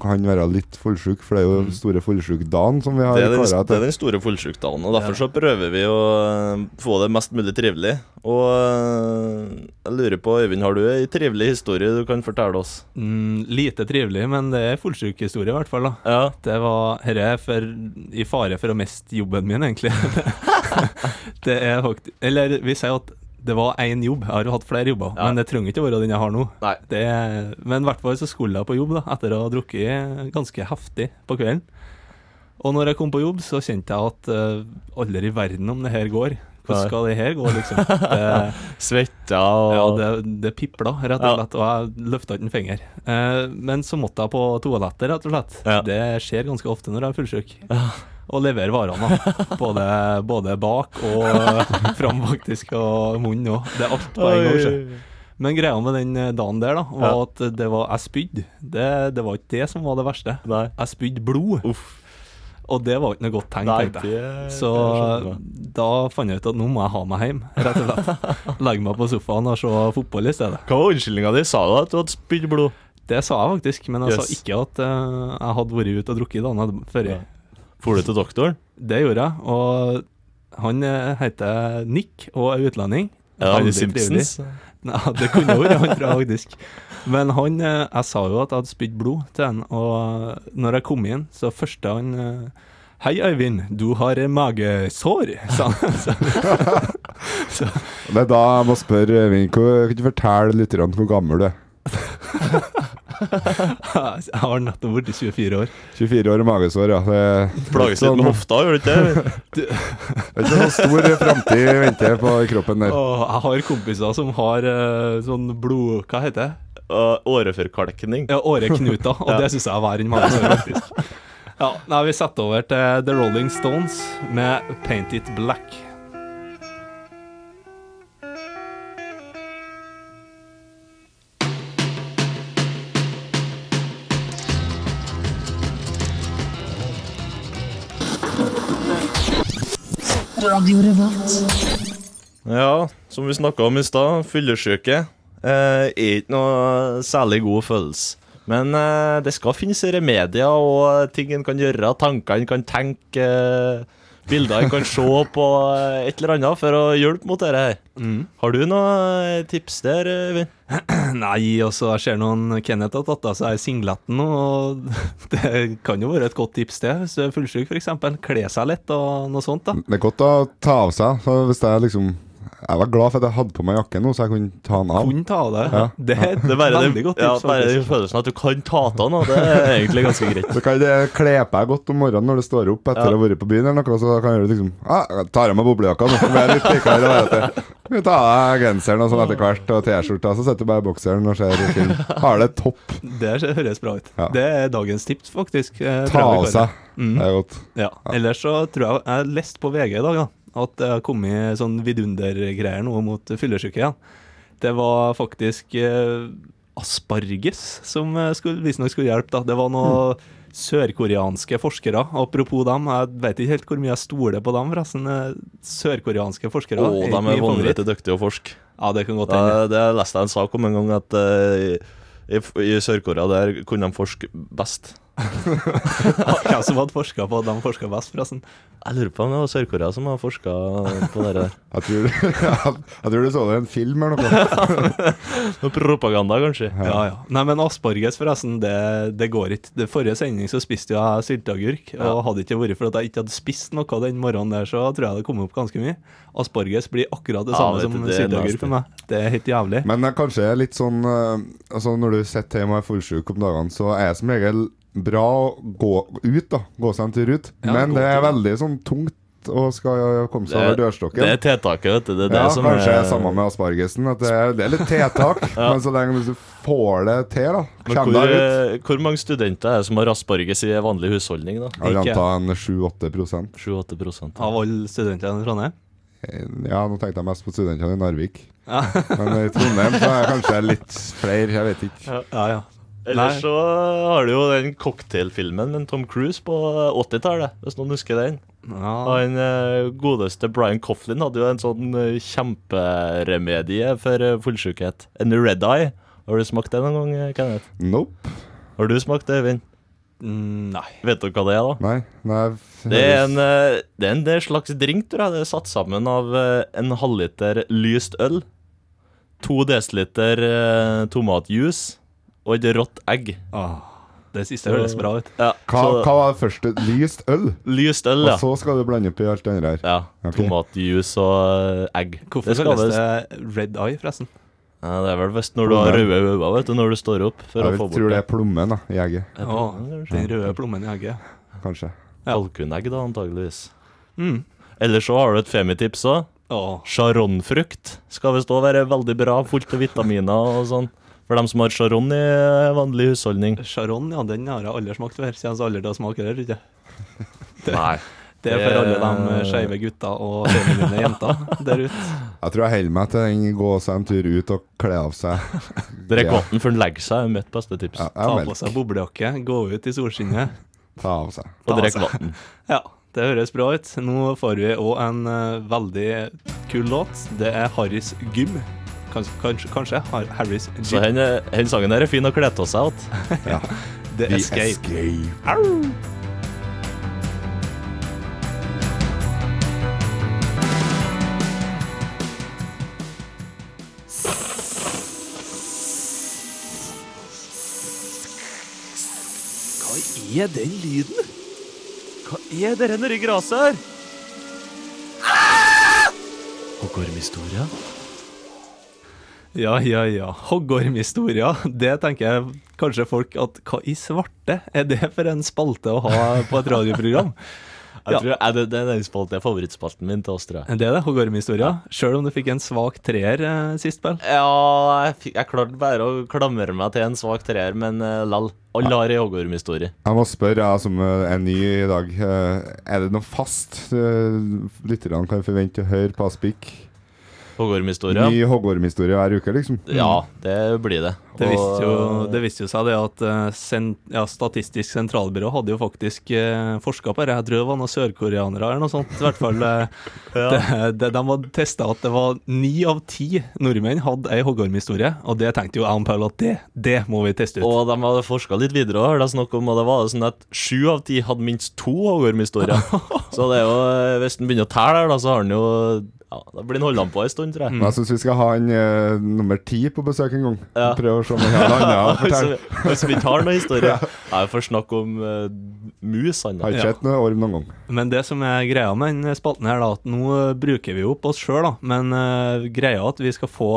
[SPEAKER 6] kan være litt fullsjuk, for det er jo store fullsjukdagen som vi har
[SPEAKER 1] Mm. Det er, den,
[SPEAKER 6] kåra
[SPEAKER 1] det er
[SPEAKER 6] til.
[SPEAKER 1] den store fullsjukdagen, og derfor så prøver vi å eh, få det mest mulig trivelig. Og eh, jeg lurer på, Øyvind, har du ei trivelig historie du kan fortelle oss?
[SPEAKER 4] Mm, lite trivelig, men det er fullsjukhistorie i hvert fall. da. Det var Dette er for, i fare for å miste jobben min, egentlig. det er faktisk Eller vi sier at det var én jobb. Jeg har jo hatt flere jobber, men det trenger ikke å være den jeg har nå. Det, er- men i hvert fall så skulle jeg på jobb da, etter å ha drukket ganske heftig på kvelden. Og når jeg kom på jobb, så kjente jeg at uh, aldri i verden om det her går. Hvordan
[SPEAKER 1] Nei.
[SPEAKER 4] skal det her gå, liksom? Det-
[SPEAKER 1] Svetta
[SPEAKER 4] Ja,
[SPEAKER 1] og
[SPEAKER 4] det, det pipla, rett og
[SPEAKER 1] Ja.
[SPEAKER 4] slett, og jeg løfta ikke en finger. Eh, men så måtte jeg på toalettet, rett og slett. Det skjer ganske ofte når jeg er fullsjuk. Og levere varene, da. Både, både bak og fram, faktisk, og munnen òg. Det er alt på en gang.
[SPEAKER 1] Oi.
[SPEAKER 4] Ikke? Men greia med den eh, dagen der, da, var
[SPEAKER 1] Ja.
[SPEAKER 4] at det var Jeg spydde. Det, det var ikke det som var det verste. Jeg spydde blod. Og det var ikke noe godt tegn,
[SPEAKER 1] Nei,
[SPEAKER 4] tenkte jeg.
[SPEAKER 1] det-
[SPEAKER 4] Så
[SPEAKER 1] det skjønner
[SPEAKER 4] da fant jeg ut at nå må jeg ha meg hjem, rett og slett. Legge meg på sofaen og se fotball i stedet.
[SPEAKER 1] Hva var unnskyldninga di? Sa du at du hadde spydd blod?
[SPEAKER 4] Det sa jeg faktisk, men jeg sa
[SPEAKER 1] Yes.
[SPEAKER 4] ikke at eh, jeg hadde vært ute og drukket dagen jeg- før. jeg-
[SPEAKER 1] For du til doktoren?
[SPEAKER 4] Det gjorde jeg, og han eh, heter Nick og er utlending.
[SPEAKER 1] Ja, han i
[SPEAKER 4] Veldig
[SPEAKER 1] Simpsons.
[SPEAKER 4] trivelig. Nei, det kunne vært han, tror jeg faktisk. Men han, eh, jeg sa jo at jeg hadde spydd blod til han, og eh, når jeg kom inn, så første han eh, Hei, Øyvind, du har eh, magesår, sa han. Så, så,
[SPEAKER 6] Det er da jeg må spørre Øyvind, hvor- kan du fortelle litt grann hvor gammel du er?
[SPEAKER 4] jeg har nettopp blitt 24 år.
[SPEAKER 6] 24 år og magesår, ja. Det er
[SPEAKER 4] Plages litt
[SPEAKER 6] sånn-
[SPEAKER 4] med
[SPEAKER 1] hofta, gjør du ikke det?
[SPEAKER 4] Du-
[SPEAKER 6] Det er ikke noe stor framtid venter på kroppen der.
[SPEAKER 4] Åh, jeg har kompiser som har eh, sånn blod... Hva heter det?
[SPEAKER 1] åreforkalkning.
[SPEAKER 4] Ja, åreknuter. Og
[SPEAKER 1] Ja.
[SPEAKER 4] det syns jeg er verre enn mange år, faktisk. Ja, nei, vi setter over til The Rolling Stones med Paint It Black.
[SPEAKER 5] Radio Revolt.
[SPEAKER 1] Ja, som vi snakka om i stad, fyllesyke eh, er ikke noe særlig god følelse. Men eh, det skal finnes remedier og ting en kan gjøre, tanker en kan tenke, eh, bilder en kan se på, eh, et eller annet for å hjelpe mot dette her.
[SPEAKER 4] Mm.
[SPEAKER 1] Har du noen tips der, eh, Øyvind?
[SPEAKER 4] Nei, altså, jeg ser noen Kenneth har tatt av seg singleten, og det kan jo være et godt tips det, hvis du er fullsjuk f.eks. Kle seg litt og noe sånt, da.
[SPEAKER 6] Det er godt å ta av seg. Så hvis jeg liksom Jeg var glad for at jeg hadde på meg jakken nå, så jeg kunne ta den av.
[SPEAKER 4] Kunne ta av det. Det er et
[SPEAKER 6] Ja.
[SPEAKER 4] veldig godt
[SPEAKER 1] ja,
[SPEAKER 4] tips.
[SPEAKER 1] bare den
[SPEAKER 4] faktisk.
[SPEAKER 1] følelsen at du kan ta av noe, det er egentlig ganske greit.
[SPEAKER 6] Så kan det kle på deg godt om morgenen når du står opp etter
[SPEAKER 1] Ja.
[SPEAKER 6] å ha vært på byen, eller noe, så da kan du liksom ah, jeg tar av meg boblejakka nå, så blir jeg litt likere. å være til. Du tar av deg genseren og sånn etter hvert, og T-skjorta, så sitter du bare i bokseren og ser film. Har det topp.
[SPEAKER 4] Det høres bra ut. Det er dagens tips, faktisk. Eh,
[SPEAKER 6] Ta
[SPEAKER 4] tror jeg vi
[SPEAKER 6] av
[SPEAKER 4] klarer.
[SPEAKER 6] seg.
[SPEAKER 1] Mm.
[SPEAKER 6] Det er godt.
[SPEAKER 4] Ja. Ellers så tror jeg Jeg leste på VG i dag da, at det har kommet sånn vidundergreier nå mot fyllesyke igjen. Det var faktisk eh, asparges som eh, skulle, visstnok skulle hjelpe. da. Det var
[SPEAKER 1] Mm.
[SPEAKER 4] noen sørkoreanske forskere. Apropos dem, jeg vet ikke helt hvor mye jeg stoler på dem, forresten. Eh, Sørkoreanske forskere.
[SPEAKER 1] Å, de
[SPEAKER 4] min
[SPEAKER 1] er
[SPEAKER 4] favoritt.
[SPEAKER 1] vanvittig Eh. dyktige å forske.
[SPEAKER 4] Ja, det kan godt hende.
[SPEAKER 1] Ja, det leste jeg en sak om en gang, at eh, i, i Sør-Korea der kunne de forske best.
[SPEAKER 4] Hvem som hadde forska på at de forska best, forresten?
[SPEAKER 1] Jeg lurer på om det var Sør-Korea som har forska på det der.
[SPEAKER 6] Jeg tror, jeg, tror du så det i en film eller noe.
[SPEAKER 1] Noe propaganda, kanskje.
[SPEAKER 4] Ja, ja. Nei, men asparges, forresten, det, det går ikke. Det forrige sending så spiste jo jeg sylteagurk, og hadde ikke vært for at jeg ikke hadde spist noe den morgenen der, så tror jeg det kom opp ganske mye. Asparges blir akkurat det
[SPEAKER 6] Ja,
[SPEAKER 4] samme
[SPEAKER 6] vet du,
[SPEAKER 4] som
[SPEAKER 6] det er nasty.
[SPEAKER 4] sylteagurk for meg. Det er helt jævlig.
[SPEAKER 6] Men det er kanskje litt sånn eh, altså Når du sitter hjemme og er fullsjuk om dagene, så er det som regel bra å gå ut, da. Gå seg en tur ut.
[SPEAKER 1] Ja,
[SPEAKER 6] Men
[SPEAKER 1] gå
[SPEAKER 6] det er
[SPEAKER 1] tur, ja.
[SPEAKER 6] veldig sånn tungt å skal komme seg over dørstokken.
[SPEAKER 1] det er tiltaket, vet du. Det er det
[SPEAKER 6] ja,
[SPEAKER 1] som
[SPEAKER 6] kanskje
[SPEAKER 1] er
[SPEAKER 6] samme med aspargesen. At det, er, det er litt tiltak, men så lenge du får det til, da.
[SPEAKER 1] Men
[SPEAKER 6] Kjem
[SPEAKER 1] hvor,
[SPEAKER 6] deg ut.
[SPEAKER 1] eh, hvor mange studenter er det som har asparges i en vanlig husholdning, da?
[SPEAKER 6] Jeg vil anta en 7-8 prosent.
[SPEAKER 1] 7-8 prosent.
[SPEAKER 4] Av alle studentene i Trondheim?
[SPEAKER 6] Ja, nå tenkte jeg mest på studentene i Narvik.
[SPEAKER 4] Ja.
[SPEAKER 6] Men i Trondheim så er det kanskje litt flere, jeg vet ikke.
[SPEAKER 4] Ja, ja.
[SPEAKER 1] Ellers
[SPEAKER 4] Nei.
[SPEAKER 1] så har du jo den cocktailfilmen med Tom Cruise på 80-tallet, hvis noen husker den. Og den eh, godeste Brian Coughlin hadde jo en sånn eh, kjemperemedie for eh, fullsjukhet. En red eye. Har du smakt det noen gang, eh, Kenneth?
[SPEAKER 6] Nope.
[SPEAKER 1] Har du smakt det, Øyvind?
[SPEAKER 4] Mm, nei.
[SPEAKER 1] Vet dere hva det er, da?
[SPEAKER 6] Nei, nei
[SPEAKER 1] Det er en, eh, det er en del slags drink, tror jeg. Det er satt sammen av eh, en halvliter lyst øl, to desiliter eh, tomatjuice og et rått egg.
[SPEAKER 4] det siste høres bra ut.
[SPEAKER 1] Ja,
[SPEAKER 6] Hva,
[SPEAKER 1] så-
[SPEAKER 6] hva var det første? Lyst øl?
[SPEAKER 1] Lyst øl, ja.
[SPEAKER 6] Og så skal du blande opp i alt det andre her.
[SPEAKER 1] Ja, Tomatjuice og eh, egg.
[SPEAKER 4] Hvorfor
[SPEAKER 1] skal
[SPEAKER 4] kalles
[SPEAKER 1] visst-
[SPEAKER 4] det red eye, forresten?
[SPEAKER 1] Ja, det er vel best når du har
[SPEAKER 6] Plommen.
[SPEAKER 1] røde øyne vet du, når du står opp. For å
[SPEAKER 6] Jeg
[SPEAKER 1] få
[SPEAKER 6] tror
[SPEAKER 1] bort
[SPEAKER 6] det er plommen da, i egget,
[SPEAKER 1] Ja,
[SPEAKER 4] Å, den røde plommen i egget.
[SPEAKER 6] kanskje.
[SPEAKER 1] Kalkunegg, da, antageligvis.
[SPEAKER 4] Mm.
[SPEAKER 1] Ellers så har du et femitips òg.
[SPEAKER 4] Åh.
[SPEAKER 1] Charonfrukt skal visst òg være veldig bra, fullt av vitaminer og sånn. For dem som har charon i eh, vanlig husholdning.
[SPEAKER 4] Charon, ja, den har jeg aldri smakt før, siden jeg aldri har smakt det, tror jeg.
[SPEAKER 1] Nei.
[SPEAKER 4] Det er for alle de skeive gutta og skeive jenter der ute.
[SPEAKER 6] Jeg tror jeg holder meg til den gå seg en tur ut og kle av seg.
[SPEAKER 1] Drikk
[SPEAKER 6] Ja,
[SPEAKER 1] vann før den legger seg, er mitt beste tips.
[SPEAKER 6] Ja,
[SPEAKER 4] Ta
[SPEAKER 6] jeg
[SPEAKER 4] på
[SPEAKER 6] melk.
[SPEAKER 4] seg boblejakke, gå ut i solskinnet.
[SPEAKER 6] Ta av seg.
[SPEAKER 1] Og
[SPEAKER 4] Ta
[SPEAKER 1] drikk
[SPEAKER 4] seg.
[SPEAKER 1] vann.
[SPEAKER 4] Ja, det høres bra ut. Nå får vi òg en eh, veldig kul låt. Det er Harrys Gym. Kanskje, kanskje, kanskje Har- Harrys
[SPEAKER 1] Så
[SPEAKER 4] Gym.
[SPEAKER 1] den eh, den sangen her er fin å kle av seg til.
[SPEAKER 6] Ja.
[SPEAKER 4] The
[SPEAKER 1] The
[SPEAKER 4] Escape.
[SPEAKER 6] Escape.
[SPEAKER 4] Au!
[SPEAKER 5] Hva er den lyden?
[SPEAKER 1] Hva er det nedi gresset her? Hoggormhistoria?
[SPEAKER 4] Ja, ja, ja. Hoggormhistoria. Det tenker jeg kanskje folk at Hva i svarte er det for en spalte å ha på et radioprogram?
[SPEAKER 1] Jeg tror jeg, det, det er den spalten, det er favorittspalten min til oss, tror jeg.
[SPEAKER 4] Det er det, hoggormhistoria. Sjøl om du fikk en svak treer eh, sist, Bell.
[SPEAKER 1] Ja, jeg, fikk- jeg klarte bare å klamre meg til en svak treer, men uh, lall. Alle har ei hoggormhistorie.
[SPEAKER 6] Jeg må spørre, jeg som eh, er ny i dag, eh, er det noe fast eh, lytterne kan forvente å høre på Aspik?
[SPEAKER 1] Hoggormhistorie.
[SPEAKER 6] Ny hoggormhistorie hver uke, liksom.
[SPEAKER 4] Mm.
[SPEAKER 1] Ja, det blir det.
[SPEAKER 4] Det
[SPEAKER 1] Og-
[SPEAKER 4] viste jo, det viste jo seg det at eh, sen, ja, Statistisk sentralbyrå hadde jo faktisk eh, forska på det. Jeg tror det var noen sørkoreanere eller noe sånt. I hvert fall eh, det, det, De hadde testa at det var ni av ti nordmenn hadde ei hoggormhistorie. Og det tenkte jo jeg og Paul at det, det må vi teste ut.
[SPEAKER 1] Og de hadde forska litt videre òg, hørte jeg snakke om, og det var sånn at sju av ti hadde minst to hoggormhistorier. så det er jo eh, Hvis han begynner å telle her, da, så har han jo Ja, da blir han holdende på en stund, tror jeg.
[SPEAKER 4] Mm.
[SPEAKER 6] Men jeg syns vi skal ha en eh, nummer ti på besøk en gang.
[SPEAKER 1] Ja.
[SPEAKER 6] Prøve å se om han har noe annet å fortelle.
[SPEAKER 1] Hvis- Hvis vi tar noen historier. Jeg får snakke om eh, mus, han da.
[SPEAKER 6] Har ikke sett noe orm noen gang.
[SPEAKER 4] Men det som er greia med den spalten her, da, at nå eh, bruker vi jo opp oss sjøl, da. Men eh, greia er at vi skal få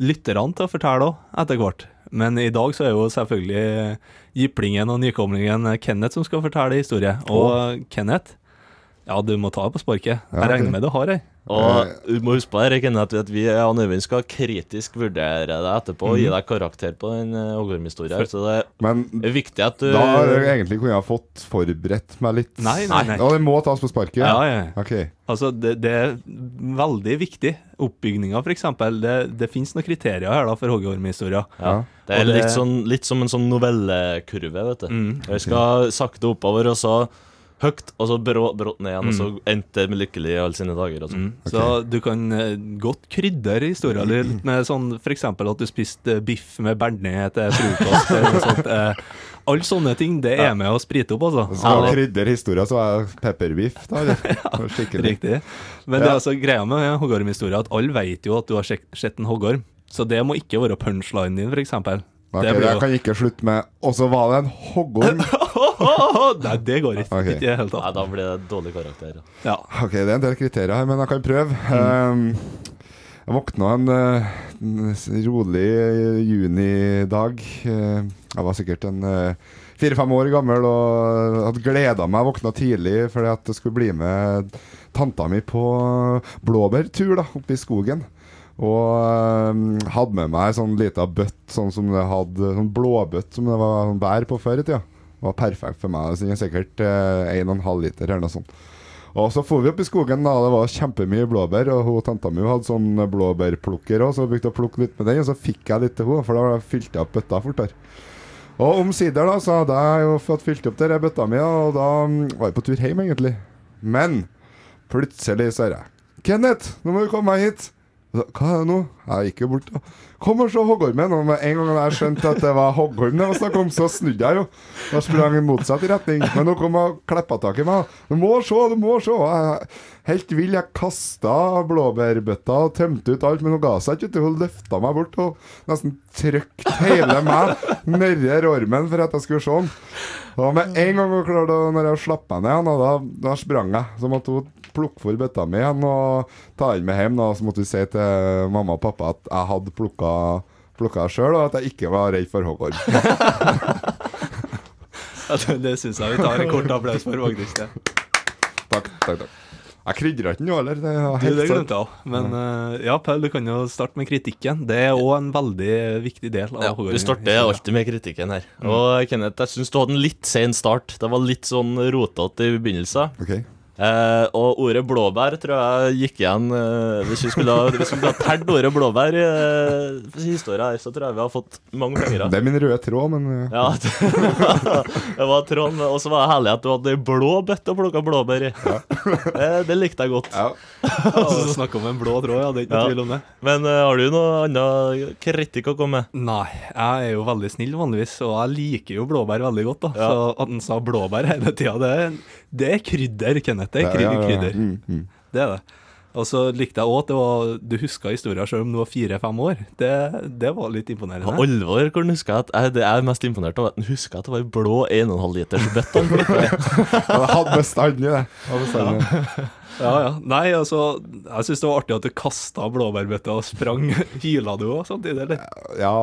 [SPEAKER 4] lytterne til å fortelle òg, etter hvert. Men i dag så er jo selvfølgelig jiplingen og nykomlingen eh, Kenneth som skal fortelle historie. Og eh, Kenneth, ja, du må ta det på sparket.
[SPEAKER 1] Ja,
[SPEAKER 4] Jeg regner
[SPEAKER 1] det.
[SPEAKER 4] med du har ei.
[SPEAKER 1] Og du må huske på her, Kenneth, at vi ja, Nøyvind skal kritisk vurdere deg etterpå og gi
[SPEAKER 6] Mhm.
[SPEAKER 1] deg karakter på den eh, hoggormhistorien. Så det
[SPEAKER 6] Men
[SPEAKER 1] er viktig at du
[SPEAKER 6] da har jeg egentlig kunne jeg ha fått forberedt meg litt.
[SPEAKER 4] Eh. Nei, nei, nei.
[SPEAKER 6] Og det må tas på sparket?
[SPEAKER 4] Ja, ja, ja.
[SPEAKER 6] Ok.
[SPEAKER 4] Altså, det, det er veldig viktig. Oppbygninga, f.eks. Det, det fins noen kriterier her da for hoggormhistorier.
[SPEAKER 1] Ja. Det er
[SPEAKER 4] Og
[SPEAKER 1] litt, sånn, litt som en sånn novellekurve, vet du.
[SPEAKER 4] Mm.
[SPEAKER 1] Jeg skal sakte oppover, og så høyt, og så brå- brått ned igjen, og så endte det med lykkelig i alle sine dager. Og sånn.
[SPEAKER 4] Så du kan eh, godt krydre historien din litt med sånn f.eks. at du spiste eh, biff med bearnés til frokost. eller noe sånt. Eh, Alle sånne ting det er med å sprite opp, altså.
[SPEAKER 6] Skal
[SPEAKER 4] Ja,
[SPEAKER 6] jeg krydre historien, så er det pepperbiff, da? Eller? Skikkelig.
[SPEAKER 4] Riktig. Men det er
[SPEAKER 6] Ja.
[SPEAKER 4] altså greia med hoggormhistorien at alle vet jo at du har sjek- sett en hoggorm. Så det må ikke være punchlinen din, f.eks.
[SPEAKER 6] Ok, jeg kan ikke slutte med Og så var det en hoggorm.
[SPEAKER 4] Nei, det går ikke.
[SPEAKER 6] Ok.
[SPEAKER 4] Ikke i det hele tatt.
[SPEAKER 1] Nei, da blir det dårlig karakter. da.
[SPEAKER 4] Ja.
[SPEAKER 6] Ok, det er en del kriterier her, men jeg kan prøve. Um, jeg våkna en, eh, en s- rolig eh, junidag. Eh, jeg var sikkert en eh, fire-fem år gammel og hadde gleda meg. Jeg våkna tidlig fordi at jeg skulle bli med tanta mi på blåbærtur da, oppe i skogen. Og um, hadde med meg sånn lita bøtt, sånn som det hadde, sånn blåbøtt som det var sånn bær på før i tida. Det var perfekt for meg. Så det er sikkert eh, en og en halv liter eller noe sånt. Og så for vi opp i skogen, da. Det var kjempemye blåbær. Og hun tanta mi hun hadde sånn blåbærplukker òg, så hun begynte å plukke litt med den. Og så fikk jeg litt til henne, for da fylte jeg opp bøtta fortere. Og omsider da, så hadde jeg jo fått fylt opp der i bøtta mi, og da mm, var jeg på tur hjem, egentlig. Men plutselig så hører jeg 'Kenneth, nå må du komme meg hit'. Og så, Hva er det nå? Jeg gikk jo bort. da. 'Kom og se hoggormen'. Og med en gang jeg skjønte at det var hoggorm det var snakk om, så snudde jeg jo. Da sprang jeg i motsatt retning. Men nå kom hun og kleppa tak i meg. 'Du må se, du må se'. Jeg, helt vill. Jeg kasta blåbærbøtta og tømte ut alt, men hun ga seg ikke. vet du. Hun løfta meg bort og nesten trykte hele meg nedi ormen for at jeg skulle se den. Og med en gang hun klarte å- Når jeg slapp meg ned igjen, og da, da sprang jeg. Så måtte hun plukke for bøtta mi igjen og ta den med hjem. Da. Så måtte hun si til mamma og pappa at jeg hadde plukka Plukka sjøl, og at jeg ikke var redd for hoggorm.
[SPEAKER 4] Ja, det- Det syns jeg vi tar en kort applaus for, faktisk. det.
[SPEAKER 6] Takk, takk, takk. Jeg krydra ikke noe heller. Det er
[SPEAKER 4] Du,
[SPEAKER 6] helt
[SPEAKER 4] det
[SPEAKER 6] sant.
[SPEAKER 4] glemte jeg òg. Men eh, ja, Paul, du kan jo starte med kritikken. Det er òg en veldig viktig del av
[SPEAKER 1] Ja, Mm.
[SPEAKER 4] hovedhistorien.
[SPEAKER 1] du starter alltid med kritikken her. Og Kenneth, jeg syns du hadde en litt sen start. Det var litt sånn rotete i begynnelsen.
[SPEAKER 6] Ok.
[SPEAKER 1] Eh, og ordet blåbær tror jeg gikk igjen. Eh, hvis vi skulle ha, hvis vi skulle ha tært ordet blåbær i eh, historia her, så tror jeg vi har fått mange penger.
[SPEAKER 6] Det er min røde tråd, men eh,
[SPEAKER 1] Ja, det det var Trond. Og så var det herlig at du hadde ei blå bøtte å plukke blåbær i. Det, det likte jeg godt.
[SPEAKER 4] Altså, Snakk om en blå tråd, ja. Det er ikke noe
[SPEAKER 1] Ja.
[SPEAKER 4] tvil om det.
[SPEAKER 1] Men eh, har du noe annen kritikk å komme med?
[SPEAKER 4] Nei, jeg er jo veldig snill vanligvis, og jeg liker jo blåbær veldig godt. da Så at han sa blåbær hele tida, det, er- det er krydder, Kenneth. Det er
[SPEAKER 6] Ja,
[SPEAKER 4] krydder.
[SPEAKER 6] ja, ja.
[SPEAKER 4] krydder.
[SPEAKER 6] Mm, mm.
[SPEAKER 4] Det er det. Og så likte jeg òg at det var, du huska historien selv om du var fire-fem år. Det, det var litt
[SPEAKER 1] På
[SPEAKER 4] imponerende.
[SPEAKER 1] alvor, hvor den husker jeg at jeg, Det jeg er mest imponert over, er at den husker at det var ei blå 1,5 liters bøtte. han plukket i.
[SPEAKER 6] Jeg hadde bestandig det. Jeg hadde bestandig det.
[SPEAKER 4] Ja, ja. Nei, altså, jeg syns det var artig at du kasta blåbærbøtta og sprang. Hyla du òg samtidig, eller?
[SPEAKER 6] Ja,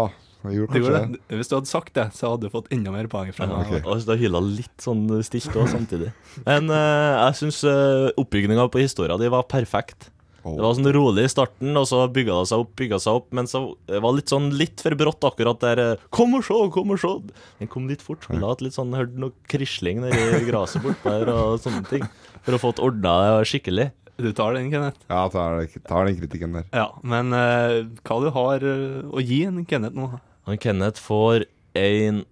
[SPEAKER 6] jeg gjorde
[SPEAKER 4] Du
[SPEAKER 6] kanskje
[SPEAKER 4] gjorde
[SPEAKER 6] det.
[SPEAKER 4] det. Hvis du hadde sagt det, så hadde du fått enda mer poeng fra meg.
[SPEAKER 1] Ja, Og så det hyla litt sånn stilt òg, samtidig. Men eh, jeg syns uh, oppbygninga på historia di var perfekt. Det var sånn rolig i starten, og så bygga det seg opp, bygga seg opp, men så det var litt sånn litt for brått akkurat der eh, Kom og se, kom og se! Den kom litt fort. Skulle hatt litt sånn Hørte noe krisling nedi gresset bortpå her og sånne ting. For å få ordna det skikkelig.
[SPEAKER 4] Du tar den, Kenneth?
[SPEAKER 6] Ja, tar, tar den kritikken der.
[SPEAKER 4] Ja, men eh, hva du har eh, å gi en Kenneth nå?
[SPEAKER 1] Han Kenneth får en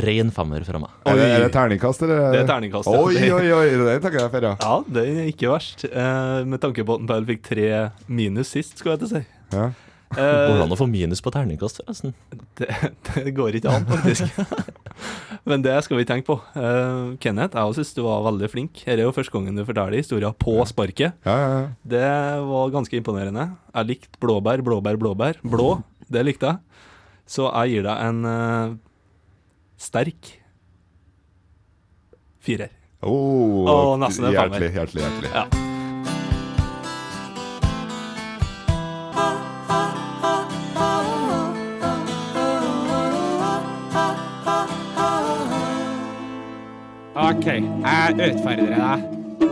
[SPEAKER 1] ren femmer fra meg.
[SPEAKER 6] Er det, er det terningkast, eller?
[SPEAKER 1] Eh,
[SPEAKER 4] Det er terningkast, ja.
[SPEAKER 6] Oi, oi, oi, det takker jeg for, ja.
[SPEAKER 4] Ja, det er ikke verst. Eh, med tanke på at Paul fikk tre minus sist, skulle jeg til å si.
[SPEAKER 6] Ja.
[SPEAKER 1] Går det an å få minus på terningkast, forresten?
[SPEAKER 4] Det, det går ikke an, faktisk. Men det skal vi tenke på. Eh, Kenneth, jeg også synes du var veldig flink. Dette er jo første gangen du forteller historien på sparket. Det var ganske imponerende. Jeg likte blåbær, blåbær, blåbær. Blå, det likte jeg. Så jeg gir deg en eh, sterk firer.
[SPEAKER 6] Oh,
[SPEAKER 4] Å, nesten en femmer.
[SPEAKER 6] hjertelig, hjertelig, hjertelig.
[SPEAKER 4] Ja.
[SPEAKER 11] OK, jeg utfordrer deg.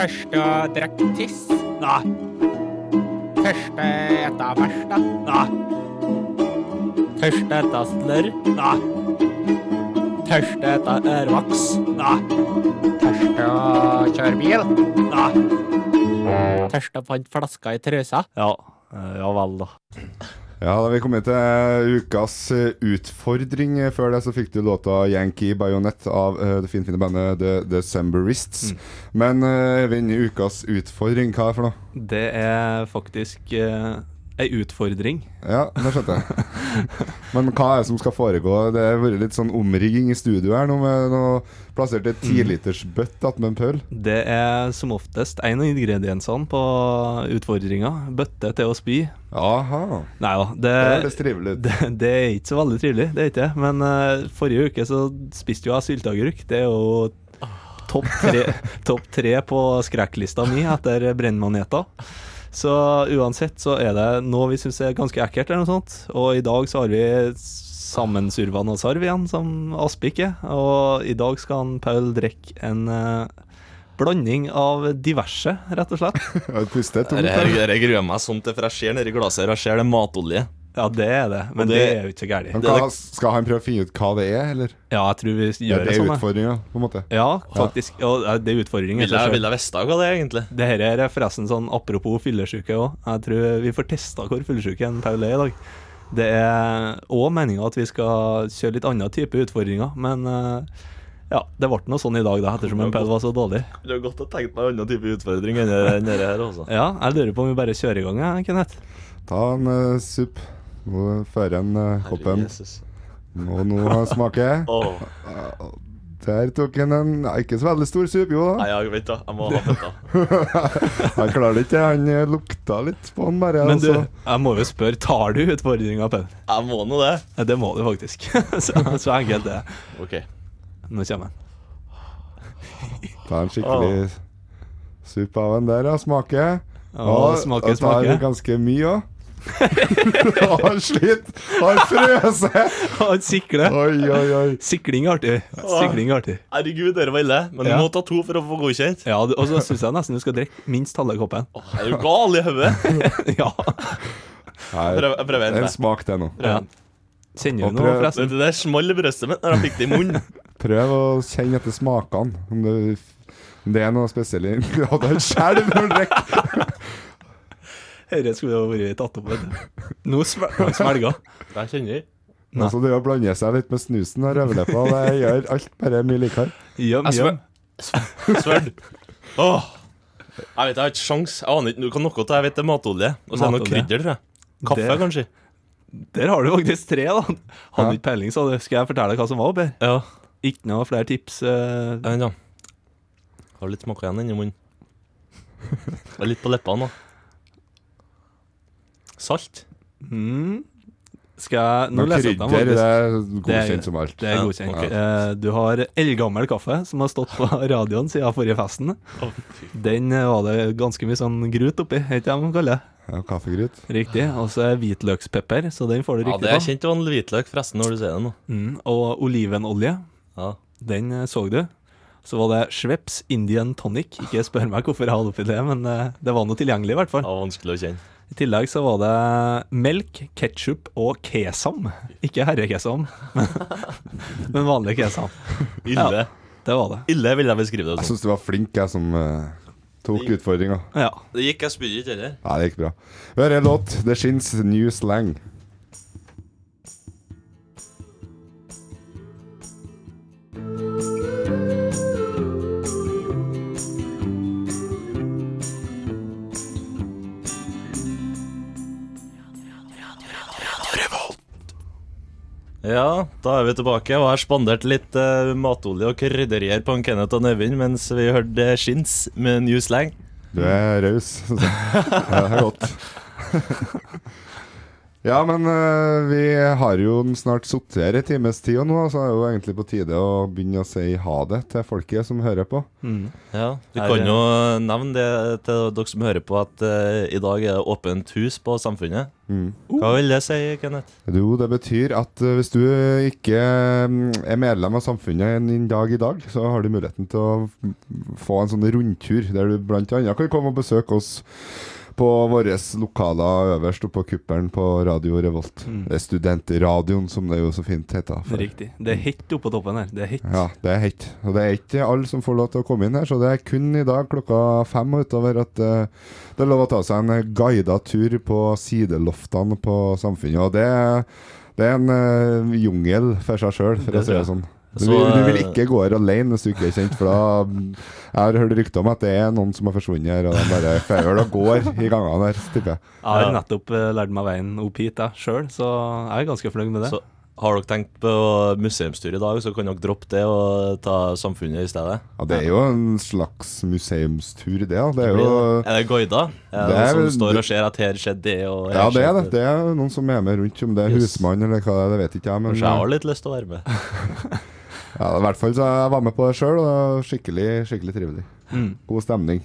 [SPEAKER 11] Først å drikke tiss. Nei. Først å ete bæsj, da. Nei. Først å ete snørr. Nei. Først å ete ørvoks. Nei. Først å kjøre bil. Nei. Først å fant flaska i trusa.
[SPEAKER 4] Ja. eh, Ja vel, da.
[SPEAKER 6] Ja, da vi kom inn til ukas eh, utfordring. Eh, Før det så fikk du låta 'Yankee Bayonet' av eh, det finfine bandet The Decemberists.
[SPEAKER 4] Mm.
[SPEAKER 6] Men eh, Eivind, ukas utfordring, hva er det for noe?
[SPEAKER 4] Det er faktisk eh, ei utfordring.
[SPEAKER 6] Ja, det skjønte jeg. Men hva er det som skal foregå? Det har vært litt sånn omrigging i studio her nå med noe plassert
[SPEAKER 4] Mm.
[SPEAKER 6] i tilitersbøtt attmed en pøl.
[SPEAKER 4] Det er som oftest en av ingrediensene på utfordringa. Bøtte til å spy.
[SPEAKER 6] Aha.
[SPEAKER 4] Nei da. Det,
[SPEAKER 6] Det høres trivelig ut.
[SPEAKER 4] Eh, Det, det er ikke så veldig trivelig, det er ikke det. Men eh, forrige uke så spiste jo jeg sylteagurk. Det er jo topp tre, topp tre på skrekklista mi etter brennmaneter. Så uansett så er det noe vi syns er ganske ekkelt, eller noe sånt. Og i dag så har vi sammensurva noe sarv igjen, som Aspik er. Og i dag skal han Paul drikke en eh, blanding av diverse, rett og slett.
[SPEAKER 6] Puste
[SPEAKER 1] tungt. Jeg gruer meg sånn til, for jeg ser nedi glasset her, og jeg ser det er matolje.
[SPEAKER 4] Ja, det er det, men
[SPEAKER 1] Og
[SPEAKER 4] det,
[SPEAKER 1] det-
[SPEAKER 4] er jo ikke så gærent.
[SPEAKER 6] Men hva, skal han prøve å finne ut hva det er, eller?
[SPEAKER 4] Ja, jeg tror vi gjør
[SPEAKER 6] det
[SPEAKER 4] det sånn.
[SPEAKER 6] er
[SPEAKER 4] jeg.
[SPEAKER 6] utfordringa, på en måte.
[SPEAKER 4] Ja, faktisk. Og eh, det er utfordringen.
[SPEAKER 1] Vil jeg, vil jeg visst hva det er, egentlig?
[SPEAKER 4] Det her er forresten sånn apropos fyllesyke òg. Jeg tror vi får testa hvor fyllesyk en Paul er i dag. Det er òg meninga at vi skal kjøre litt annen type utfordringer, men eh, ja, det ble noe sånn i dag, da, ettersom en Paul var så dårlig.
[SPEAKER 1] Det er godt å tenke meg en annen type utfordring enn det enn det her, altså.
[SPEAKER 4] Ja, jeg lurer på om vi bare kjører i gang, jeg, Kenneth.
[SPEAKER 6] Ta en eh, supp. Nå fører han eh, koppen. Og nå har han smaker.
[SPEAKER 1] Åh.
[SPEAKER 6] Der tok han en ja, ikke så veldig stor supp, jo da.
[SPEAKER 1] Nei, jeg vet da. Jeg må ha venta.
[SPEAKER 6] han klarer det ikke. Han eh, lukta litt på han bare.
[SPEAKER 4] Men du,
[SPEAKER 6] altså.
[SPEAKER 4] jeg må jo spørre, tar du utfordringa, Paul?
[SPEAKER 1] Jeg må nå det.
[SPEAKER 4] Ja, det må du faktisk. så, så enkelt det er.
[SPEAKER 1] OK.
[SPEAKER 4] Nå kommer han.
[SPEAKER 6] Ta en skikkelig supp av den der, ja. Smake.
[SPEAKER 4] Ja,
[SPEAKER 6] Og-
[SPEAKER 4] smake,
[SPEAKER 6] og tar
[SPEAKER 4] smake.
[SPEAKER 6] ganske mye òg. han sliter. Han frøser.
[SPEAKER 4] Han sikler.
[SPEAKER 6] Oi, oi, oi.
[SPEAKER 4] Sikling er artig. Sikling er artig.
[SPEAKER 1] Herregud, dere var ille. Men du
[SPEAKER 4] Ja.
[SPEAKER 1] må ta to for å få godkjent.
[SPEAKER 4] Ja, du- og så syns jeg nesten du skal drikke minst halve koppen.
[SPEAKER 1] Jeg er jo gal i hodet.
[SPEAKER 4] ja.
[SPEAKER 6] Nei,
[SPEAKER 1] Prøv- jeg prøver en til.
[SPEAKER 6] en smak til nå.
[SPEAKER 1] Ja.
[SPEAKER 4] Kjenner
[SPEAKER 6] Og
[SPEAKER 4] du noe,
[SPEAKER 6] prøv-
[SPEAKER 4] forresten?
[SPEAKER 1] Det der small i brøstet mitt når jeg fikk det i munnen.
[SPEAKER 6] Prøv å kjenne etter smakene. Om det, om det er noe spesielt i Ja, det er skjelv når du drikker.
[SPEAKER 4] Dette skulle jo vært tatt opp. vet du. Nå svel- nå svelger hun.
[SPEAKER 1] Jeg kjenner
[SPEAKER 6] Altså, det å blande seg litt med snusen og rødleppa, det gjør alt bare mye likere.
[SPEAKER 4] Gjem,
[SPEAKER 1] Jeg
[SPEAKER 4] gjem.
[SPEAKER 1] Sverd. Åh. Jeg vet jeg har ikke sjans. Jeg aner ikke hva noe til. Jeg vet det er matolje. Og så er det noe
[SPEAKER 4] Matolje.
[SPEAKER 1] krydder, tror jeg. Kaffe,
[SPEAKER 4] Det-
[SPEAKER 1] kanskje.
[SPEAKER 4] Der har du faktisk tre, da. Hadde ikke peiling, så det- skal jeg fortelle deg hva som var oppi.
[SPEAKER 1] Ja.
[SPEAKER 4] Ikke noe flere tips. eh.
[SPEAKER 1] Vent, da. Har litt smak igjen inni munnen. Og litt på leppene òg. Salt.
[SPEAKER 4] Mm. Skal jeg Nå
[SPEAKER 6] Men
[SPEAKER 4] leser jeg opp
[SPEAKER 6] krydder,
[SPEAKER 4] dem.
[SPEAKER 6] det er
[SPEAKER 4] faktisk.
[SPEAKER 6] godkjent
[SPEAKER 4] Det er-
[SPEAKER 6] som alt.
[SPEAKER 4] Det er
[SPEAKER 6] Ja,
[SPEAKER 4] godkjent.
[SPEAKER 6] ok.
[SPEAKER 4] Eh, Du har eldgammel kaffe, som har stått på radioen siden forrige festen.
[SPEAKER 1] Å,
[SPEAKER 4] Den eh, var det ganske mye sånn grut oppi, vet ikke hva man kaller det.
[SPEAKER 6] Ja, kaffegryt.
[SPEAKER 4] Riktig. Og så er hvitløkspepper, så den får du
[SPEAKER 1] Ja,
[SPEAKER 4] riktig
[SPEAKER 1] det er
[SPEAKER 4] på.
[SPEAKER 1] kjent vanlig hvitløk, forresten, når du ser det nå.
[SPEAKER 4] Mm, og olivenolje.
[SPEAKER 1] Ja.
[SPEAKER 4] Den eh, så du. Så var det Schweppes Indian Tonic. Ikke spør meg hvorfor jeg hadde oppi det, men eh, det var noe tilgjengelig, i hvert
[SPEAKER 1] Det
[SPEAKER 4] fall.
[SPEAKER 1] var vanskelig å kjenne.
[SPEAKER 4] I tillegg så var det melk, ketsjup og kesam. Ikke herrekesam, men vanlig kesam.
[SPEAKER 1] Ille.
[SPEAKER 4] Ja, det var det.
[SPEAKER 1] Ille vil jeg beskrive det
[SPEAKER 6] Jeg
[SPEAKER 1] som.
[SPEAKER 6] syns du var flink, jeg, som eh, Tok utfordringa.
[SPEAKER 1] Altså, Det gikk jeg spydig ikke heller.
[SPEAKER 6] Nei, det gikk bra. Hør en låt. The Shins New Slang.
[SPEAKER 1] Ja, da er vi tilbake og har spandert litt eh, matolje og krydderier på en Kenneth og Nevin mens vi hørte eh, Shins med New Slang.
[SPEAKER 6] Du er raus. synes jeg. Ja, det er godt. Ja, men eh, vi har jo den snart sittet her i times tid nå, så er det jo egentlig på tide å begynne å si ha det til folket som hører på.
[SPEAKER 4] Mm,
[SPEAKER 1] Ja, Du
[SPEAKER 6] Er
[SPEAKER 1] kan
[SPEAKER 6] det-
[SPEAKER 1] jo nevne det til dere som hører på, at eh, i dag er det åpent hus på Samfunnet.
[SPEAKER 6] Mm.
[SPEAKER 1] Hva vil det si, Kenneth?
[SPEAKER 6] Jo, det betyr at eh, hvis du ikke eh, er medlem av samfunnet en en dag i dag, så har du muligheten til å f- få en sånn rundtur der du bl.a. kan komme og besøke oss på våre lokaler øverst oppe på kuppelen på Radio Revolt.
[SPEAKER 4] Mm.
[SPEAKER 6] Det er studentradioen, som det jo så fint heter. for-
[SPEAKER 4] Riktig. Det er hett oppå toppen her. Det er hett.
[SPEAKER 6] Ja, det er hett. Og det er ikke alle som får lov til å komme inn her, så det er kun i dag klokka fem og utover at eh, det er lov å ta seg en guida tur på sideloftene på Samfunnet. Og det, det er en eh, jungel for seg sjøl, for
[SPEAKER 1] Det
[SPEAKER 6] å si
[SPEAKER 1] tror
[SPEAKER 6] det
[SPEAKER 1] jeg.
[SPEAKER 6] sånn. Du,
[SPEAKER 1] Så,
[SPEAKER 6] vil- du vil
[SPEAKER 1] eh,
[SPEAKER 6] ikke gå her alene hvis du ikke er kjent, for da Jeg har hørt rykter om at det er noen som har forsvunnet her, og de bare feiler og går i gangene her, tipper jeg.
[SPEAKER 4] Jeg har nettopp eh, lært meg veien opp hit jeg sjøl, så jeg er ganske fornøyd med det.
[SPEAKER 1] Så har dere tenkt på museumstur i dag, så kan dere droppe det og ta Samfunnet i stedet.
[SPEAKER 6] Ja, det er jo en slags museumstur, det. Ja. Det er
[SPEAKER 1] Blir
[SPEAKER 6] jo
[SPEAKER 1] det- er det guida? Er det,
[SPEAKER 6] Det er
[SPEAKER 1] noen
[SPEAKER 6] vel-
[SPEAKER 1] som står og ser at her skjedde det? Og her
[SPEAKER 6] Ja, det er det.
[SPEAKER 1] skjedde
[SPEAKER 6] Det er noen som er med rundt, om det er husmann eller hva det er, det vet ikke jeg. Men eh,
[SPEAKER 1] Kanskje jeg har litt lyst til å være med.
[SPEAKER 6] ja, i hvert fall så jeg var med på det sjøl, og det var skikkelig, skikkelig trivelig.
[SPEAKER 4] Mm.
[SPEAKER 6] God stemning.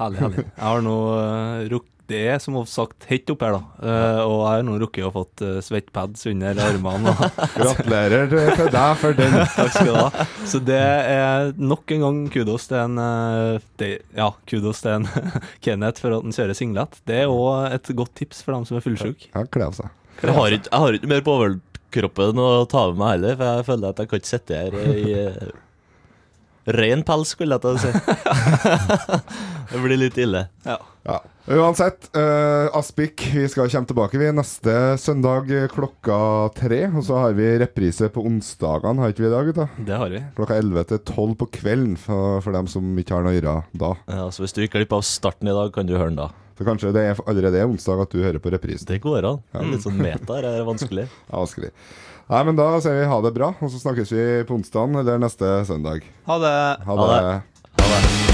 [SPEAKER 4] Herlig, herlig. Jeg har nå eh, rukk- Det er som sagt hett opp her, da. Eh, og jeg har nå rukket å fått eh, svettpads under armene. Og
[SPEAKER 6] Gratulerer til til deg for den.
[SPEAKER 4] Takk skal du ha. Så det er nok en gang kudos til en eh, det, Ja, kudos til en Kenneth for at han kjører singlet. Det er òg et godt tips for dem som er fullsjuke.
[SPEAKER 6] Ja, kle av seg.
[SPEAKER 1] Jeg har ikke, jeg har ikke mer på overkroppen å ta med meg heller, for jeg føler at jeg kan ikke sitte her i eh, ren pels, skulle jeg til å si. det blir litt ille.
[SPEAKER 6] Ja. Uansett, eh, Aspik, vi skal komme tilbake vi neste søndag eh, klokka tre. Og så har vi reprise på onsdagene, har ikke vi i dag, gutta?
[SPEAKER 4] Det har vi.
[SPEAKER 6] Klokka 11 til 12 på kvelden, for, for dem som ikke har noe å gjøre da.
[SPEAKER 1] Ja, så Eh, altså, hvis du gikk glipp av starten i dag, kan du høre den da.
[SPEAKER 6] Så kanskje det er allerede er onsdag at du hører på reprisen.
[SPEAKER 1] Det går an. Litt sånn meta her, er det vanskelig.
[SPEAKER 6] Ja, vanskelig. Nei, men da sier vi ha det bra, og så snakkes vi på onsdagen eller neste søndag.
[SPEAKER 4] Ha det.
[SPEAKER 6] Ha det. Ha det.